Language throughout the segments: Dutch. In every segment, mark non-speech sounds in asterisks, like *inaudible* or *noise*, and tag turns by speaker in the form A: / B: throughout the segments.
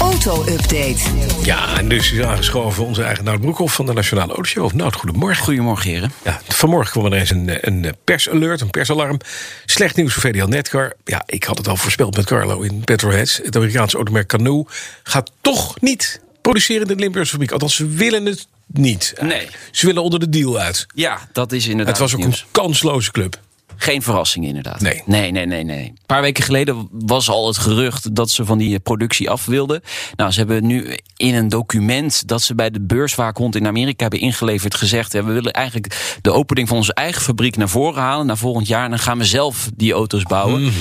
A: Auto-update.
B: Ja, en dus is aangeschoven onze eigen Nout Broekhoff van de Nationale Autoshow. Nout, goedemorgen.
C: Goedemorgen, heren.
B: Ja, vanmorgen kwam ineens een, een persalert, een persalarm. Slecht nieuws voor VDL Netcar. Ja, ik had het al voorspeld met Carlo in Petroheads. Het Amerikaanse automerk Canoe gaat toch niet produceren in de Limburgse fabriek. Althans, ze willen het niet.
C: Nee.
B: Ze willen onder de deal uit.
C: Ja, dat is inderdaad.
B: het was ook
C: nieuws.
B: een kansloze club.
C: geen verrassing, inderdaad.
B: Nee.
C: nee, nee, nee. nee. Een paar weken geleden was al het gerucht dat ze van die eh, productie af wilden. Nou, ze hebben nu in een document dat ze bij de beurswaakhond in Amerika hebben ingeleverd gezegd: hè, we willen eigenlijk de opening van onze eigen fabriek naar voren halen, naar volgend jaar. En dan gaan we zelf die auto's bouwen.
B: Mhm.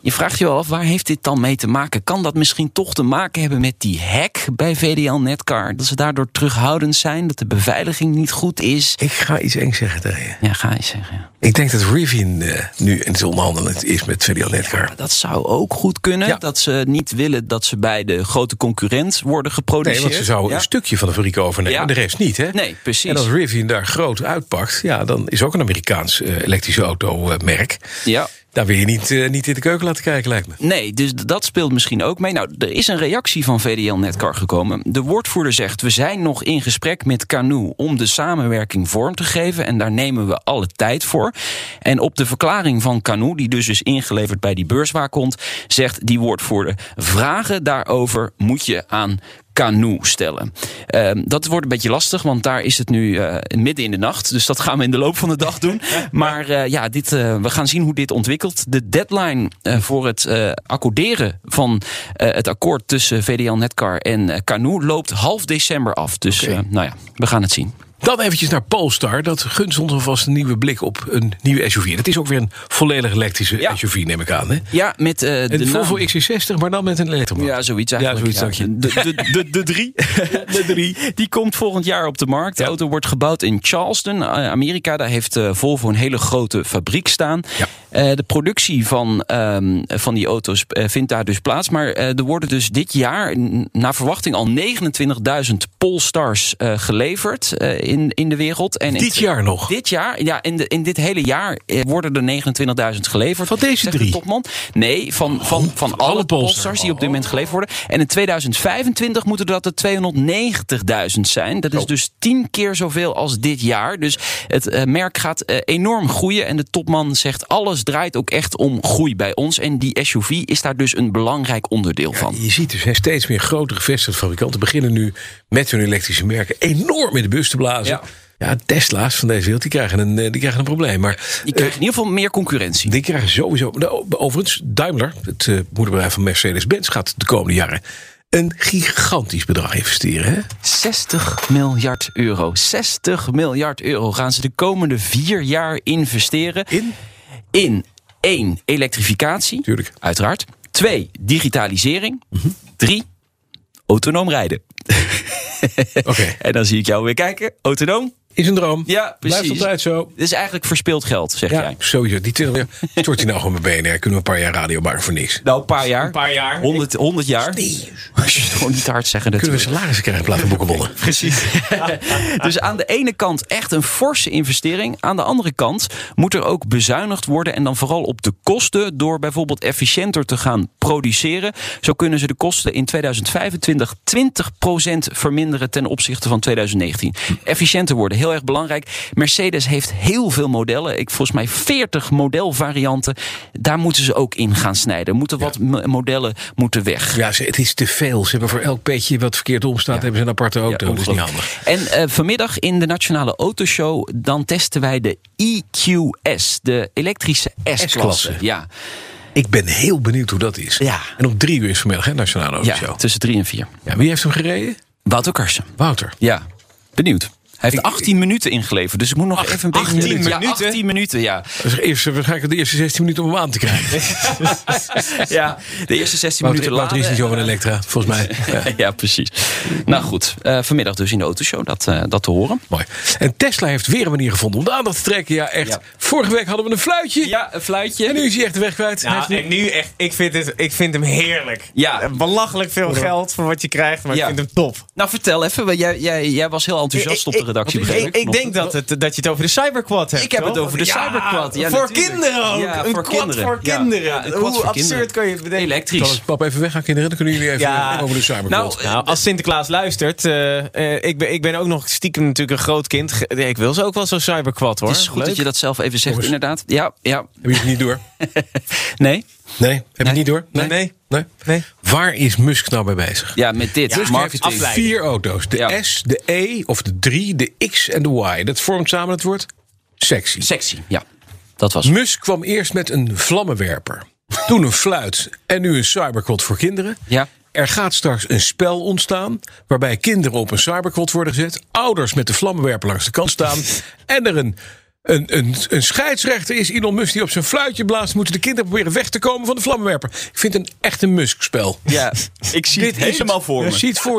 C: Je vraagt je wel af, waar heeft dit dan mee te maken? Kan dat misschien toch te maken hebben met die hack bij VDL Netcar? Dat ze daardoor terughoudend zijn, dat de beveiliging niet goed is.
B: Ik ga iets engs zeggen tegen je.
C: Ja, ga je zeggen. ja.
B: Ik denk dat Rivian eh, nu in het onderhandelen is met VDL Netcar.
C: Dat zou ook goed kunnen.
B: Ja.
C: Dat ze niet willen dat ze bij de grote concurrent worden
B: Nee,
C: geproduceerd.
B: want ze zouden
C: Ja.
B: een stukje van de fabriek overnemen,
C: Ja.
B: de rest niet, hè?
C: Nee, precies.
B: En als Rivian daar groot uitpakt, ja, dan is ook een Amerikaans eh, elektrische automerk.
C: Ja.
B: Daar wil je niet, eh, niet in de keuken laten kijken, lijkt me.
C: Nee, dus d- dat speelt misschien ook mee. Nou, er is een reactie van VDL Netcar gekomen. De woordvoerder zegt: We zijn nog in gesprek met Canoe om de samenwerking vorm te geven. En daar nemen we alle tijd voor. En op de verklaring van Canoe, die dus is ingeleverd bij die beurswaakhond, zegt die woordvoerder: Vragen daarover moet je aan Canoe stellen. Ehm, dat wordt een beetje lastig, want daar is het nu eh, midden in de nacht. Dus dat gaan we in de loop van de dag doen. Maar eh, *laughs* ja, dit, eh, we gaan zien hoe dit ontwikkelt. De deadline eh, voor het eh, accorderen van eh, het akkoord tussen VDL Netcar en eh Canoe loopt half december af. Dus eh, nou ja, we gaan het zien.
B: Dan eventjes naar Polestar. Dat gunt ons alvast een nieuwe blik op een nieuwe SUV. Dat is ook weer een volledig elektrische
C: Ja.
B: SUV, neem ik aan. Hè?
C: Ja, met eh, de
B: Een
C: naam-
B: Volvo XC60, maar dan met een elektromotor.
C: Ja, zoiets eigenlijk.
B: Ja, zoiets, dank je.
C: De, de, de, de
B: *laughs*
C: drie. De drie. Die komt volgend jaar op de markt. De
B: Ja.
C: auto wordt gebouwd in Charleston, eh, Amerika. Daar heeft eh, Volvo een hele grote fabriek staan.
B: Ja.
C: Eh, de productie van, ehm, van die auto's eh, vindt daar dus plaats. Maar eh, er worden dus dit jaar n- naar verwachting al 29.000 Polstars eh, geleverd eh, in, in de wereld. En in
B: Dit jaar nog?
C: Dit jaar, ja. In, de, in dit hele jaar eh, worden er 29.000 geleverd.
B: Van deze
C: zegt de
B: drie? Oh,
C: topman. Nee, van, van, van alle,
B: alle Polestars.
C: Polestars die op dit moment geleverd worden. En in 2025 moeten dat er 290.000 zijn. Dat is
B: Oh.
C: dus tien keer zoveel als dit jaar. Dus het eh, merk gaat eh, enorm groeien. En de topman zegt alles draait ook echt om groei bij ons. En die SUV is daar dus een belangrijk onderdeel van.
B: Je ziet dus hè, steeds meer grote gevestigde fabrikanten beginnen nu met hun elektrische merken enorm in de bus te blazen. Ja, Tesla's van deze wereld, die krijgen een, eh, die krijgen een probleem. Maar eh,
C: Je krijgt in ieder geval meer concurrentie.
B: Die krijgen sowieso. Nou, overigens, Daimler, het eh, moederbedrijf van Mercedes-Benz, gaat de komende jaren een gigantisch bedrag investeren. Hè?
C: 60 miljard euro. 60 miljard euro gaan ze de komende vier jaar investeren.
B: In?
C: In één, elektrificatie.
B: Tuurlijk. Mhm.
C: Uiteraard. Twee, digitalisering. Drie, autonoom rijden.
B: Oké.
C: En dan zie ik jou weer kijken. Autonoom?
B: *laughs* Is een droom.
C: Ja, precies.
B: Blijft altijd zo.
C: Dit is eigenlijk verspeeld geld, zeg
B: Ja,
C: jij.
B: sowieso. Die 20 jaar. *laughs* Stort hij nou gewoon bij BNR? Kunnen we een paar jaar radio maken voor niks?
C: Nou, een paar jaar. Een paar jaar. 100, 100 jaar. Nee. Gewoon niet te hard zeggen
B: Kunnen we
C: natuurlijk.
B: salarissen krijgen in plaats van boekenbonnen?
C: *laughs* Precies. dus aan de ene kant echt een forse investering. Aan de andere kant moet er ook bezuinigd worden. En dan vooral op de kosten. Door bijvoorbeeld efficiënter te gaan produceren. Zo kunnen ze de kosten in 2025 20% verminderen ten opzichte van 2019. Efficiënter worden, heel erg belangrijk. Mercedes heeft heel veel modellen. Ik, volgens mij 40 modelvarianten. Daar moeten ze ook in gaan snijden. Moeten wat mo- modellen moeten weg.
B: Ja, ze- het is te veel. Ze hebben voor elk peetje wat verkeerd omstaat, hebben ze een aparte auto.
C: Ja,
B: dat is niet
C: ongelooflijk.
B: handig.
C: En eh, vanmiddag in de Nationale Autoshow... dan testen wij de EQS, de elektrische S-klasse.
B: S-klasse.
C: Ja,
B: Ik ben heel benieuwd hoe dat is.
C: Ja.
B: En om drie uur is vanmiddag, hè, Nationale Auto
C: ja tussen drie en vier.
B: Ja, wie heeft hem gereden?
C: Wouter Karsen.
B: Wouter.
C: Ja, benieuwd. Hij heeft 18 minuten ingeleverd, dus ik moet nog even een beetje...
B: 18
C: Ja,
A: minuten?
C: 18 minuten,
B: *laughs*
C: ja.
B: Dat is eerst, waarschijnlijk de eerste 16 minuten om hem aan te krijgen.
C: ja. De eerste 16
B: Wouter, Wouter
C: minuten
B: is
C: later.
B: niet zo van Elektra, volgens mij. Ja,
C: *laughs* ja, precies. Nou goed, eh, vanmiddag dus in de autoshow dat, eh, dat te horen.
B: mooi. En Tesla heeft weer een manier gevonden om de aandacht te trekken. Ja, echt.
C: Ja.
B: Vorige week hadden we een fluitje.
C: Ja, een
B: En
C: fluitje.
B: nu is hij echt de weg kwijt. Hij
A: Ja,
B: heeft nu-
A: en nu echt, ik vind, het, ik vind hem heerlijk. Eh,
C: Ja.
A: Belachelijk veel geld voor wat je krijgt, maar
C: Ja.
A: ik vind hem top.
C: Nou, vertel even. want Jij, jij, jij was heel enthousiast op de redactie.
A: Ik,
C: begreep
A: ik, ik denk dat, het, dat je het over de cyberquad hebt.
C: Ik heb het
A: toch?
C: over de cyberquad, ja,
A: voor
C: natuurlijk.
A: kinderen ook.
C: Ja,
A: een
C: voor
A: voor
C: kinderen.
A: voor
C: Ja.
A: kinderen.
C: Ja, een quad
A: Hoe
C: voor
A: absurd
C: kinderen.
A: kan je het bedenken?
B: Zal
C: Elektrisch.
B: het pap even weggaan, kinderen? Dan dus kunnen jullie even
A: Ja.
B: over de cyberkant.
C: Nou,
A: Nou, als Sinterklaas luistert, eh, eh, ik, ben, ik ben ook nog stiekem natuurlijk een groot kind. Ge- Ik wil ze ook wel zo'n cyberquad hoor.
C: Het is goed dat je dat zelf even zegt,
B: Jongens.
C: inderdaad. Ja, ja.
B: Heb je het niet door?
C: Nee?
B: Nee, heb je het niet door?
A: Nee. Nee.
B: nee.
A: Nee.
B: Waar is Musk nou mee bezig?
C: Ja, met dit.
A: Ja,
C: marketing.
A: afleiding.
B: Vier auto's. De
C: Ja.
B: S, de E of de 3, de X en de Y. Dat vormt samen het woord sexy.
C: Sexy. Ja, dat was het.
B: Musk kwam eerst met een vlammenwerper. Toen een fluit en nu een cyberquad voor kinderen.
C: Ja.
B: Er gaat straks een spel ontstaan waarbij kinderen op een cyberquad worden gezet. Ouders met de vlammenwerper langs de kant staan. en er een, een, een, een scheidsrechter is, Elon Musk, die op zijn fluitje blaast. Moeten de kinderen proberen weg te komen van de vlammenwerper. Ik vind het echt een Musk-spel.
C: Ja, ik zie
B: Dit is- Je ziet het voor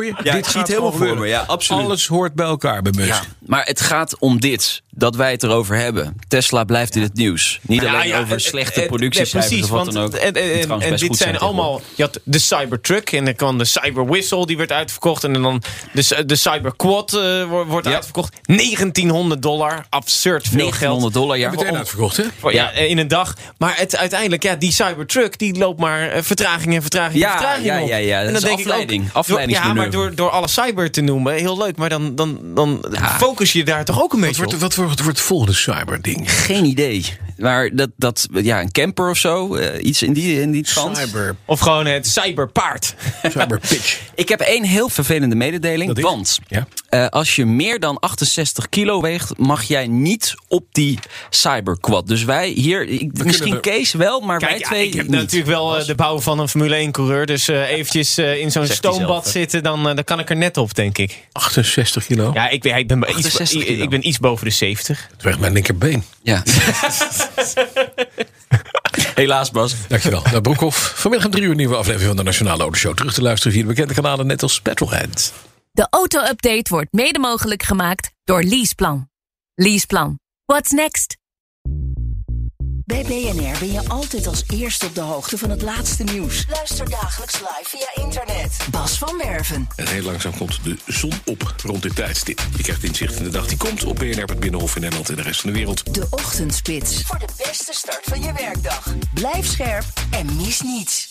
B: je. Dit
C: ik zie
B: gaat
C: het helemaal
B: gebeuren.
C: voor me, ja, absoluut.
B: Alles hoort bij elkaar bij Musk.
C: Maar het gaat om dit, dat wij het erover hebben. Tesla blijft in het nieuws. Niet alleen over
A: het-
C: slechte
A: het- eh, nee,
C: productiecijfers of wat dan ook.
A: En,
C: Die
A: en- en-
C: trouwens
A: eh, en
C: best
A: dit
C: goed
A: zijn allemaal... Je had de Cybertruck en dan kan de Cyberwhistle, die werd uitverkocht. En dan de, de Cyberquad eh, wo- wordt
C: Ja.
A: uitverkocht. 1900 dollar, absurd
C: tegenwoordig.
A: veel
C: 900
A: geld.
C: dollar, ja. Oh,
B: Meteen
C: waarom?
B: uitverkocht, hè?
A: Voor- Ja, in een dag. Maar het, uiteindelijk, ja, die Cybertruck, die loopt maar eh, vertraging en vertraging
C: Ja,
A: en vertraging
C: ja,
A: op.
C: ja, ja, dat
A: En
C: is
A: denk ik ook,
C: afleiding,
A: door- Ja,
C: afleidingsmanoeuvre.
A: maar door, door alle cyber te noemen, heel leuk. Maar dan, dan, dan focus je daar toch ook een
B: Wat
A: beetje op.
B: wordt, wat wordt het volgende cyberding?
C: Geen idee. Maar dat, dat, ja, een camper of zo, eh, iets in die, in die trant.
B: Cyber,
A: Of gewoon het cyberpaard.
B: *laughs* cyberpitch.
C: Ik heb één heel vervelende
B: Dat
C: mededeling.
B: is-
C: Want
B: Ja.
C: eh, als je meer dan 68 kilo weegt, mag jij niet op die cyberquad. Dus wij hier, ik- misschien
B: er-
C: Kees wel, maar
A: Kijk,
C: wij
A: ja,
C: twee
A: ik heb
C: niet.
A: natuurlijk wel eh, de bouw van een Formule 1 coureur. Dus eh, eventjes eh, in zo'n
C: Zegt hij zelf,
A: stoombad
C: hè.
A: zitten, dan, eh, dan kan ik er net op, denk ik.
B: 68 kilo.
A: Ja, ik ben, ik ben, iets,
C: 68
A: ik,
C: kilo.
A: ik ben iets boven de 70.
B: Het weegt mijn linkerbeen.
C: Ja. *laughs* Helaas, Bas.
B: *laughs* Dankjewel. Nou, Broekhoff. Vanmiddag om drie uur een nieuwe aflevering van de Nationale Autoshow. Terug te luisteren via de bekende kanalen, net als Petrolhead.
D: De auto-update wordt mede mogelijk gemaakt door Leaseplan. Leaseplan. What's next?
E: Bij BNR ben je altijd als eerste op de hoogte van het laatste nieuws. Luister dagelijks live via internet. Bas van Werven.
F: En heel langzaam komt de zon op rond dit tijdstip. Je krijgt inzicht in de dag die komt op BNR, het Binnenhof in Nederland en de rest van de wereld.
E: De Ochtendspits. Voor de beste start van je werkdag. Blijf scherp en mis niets.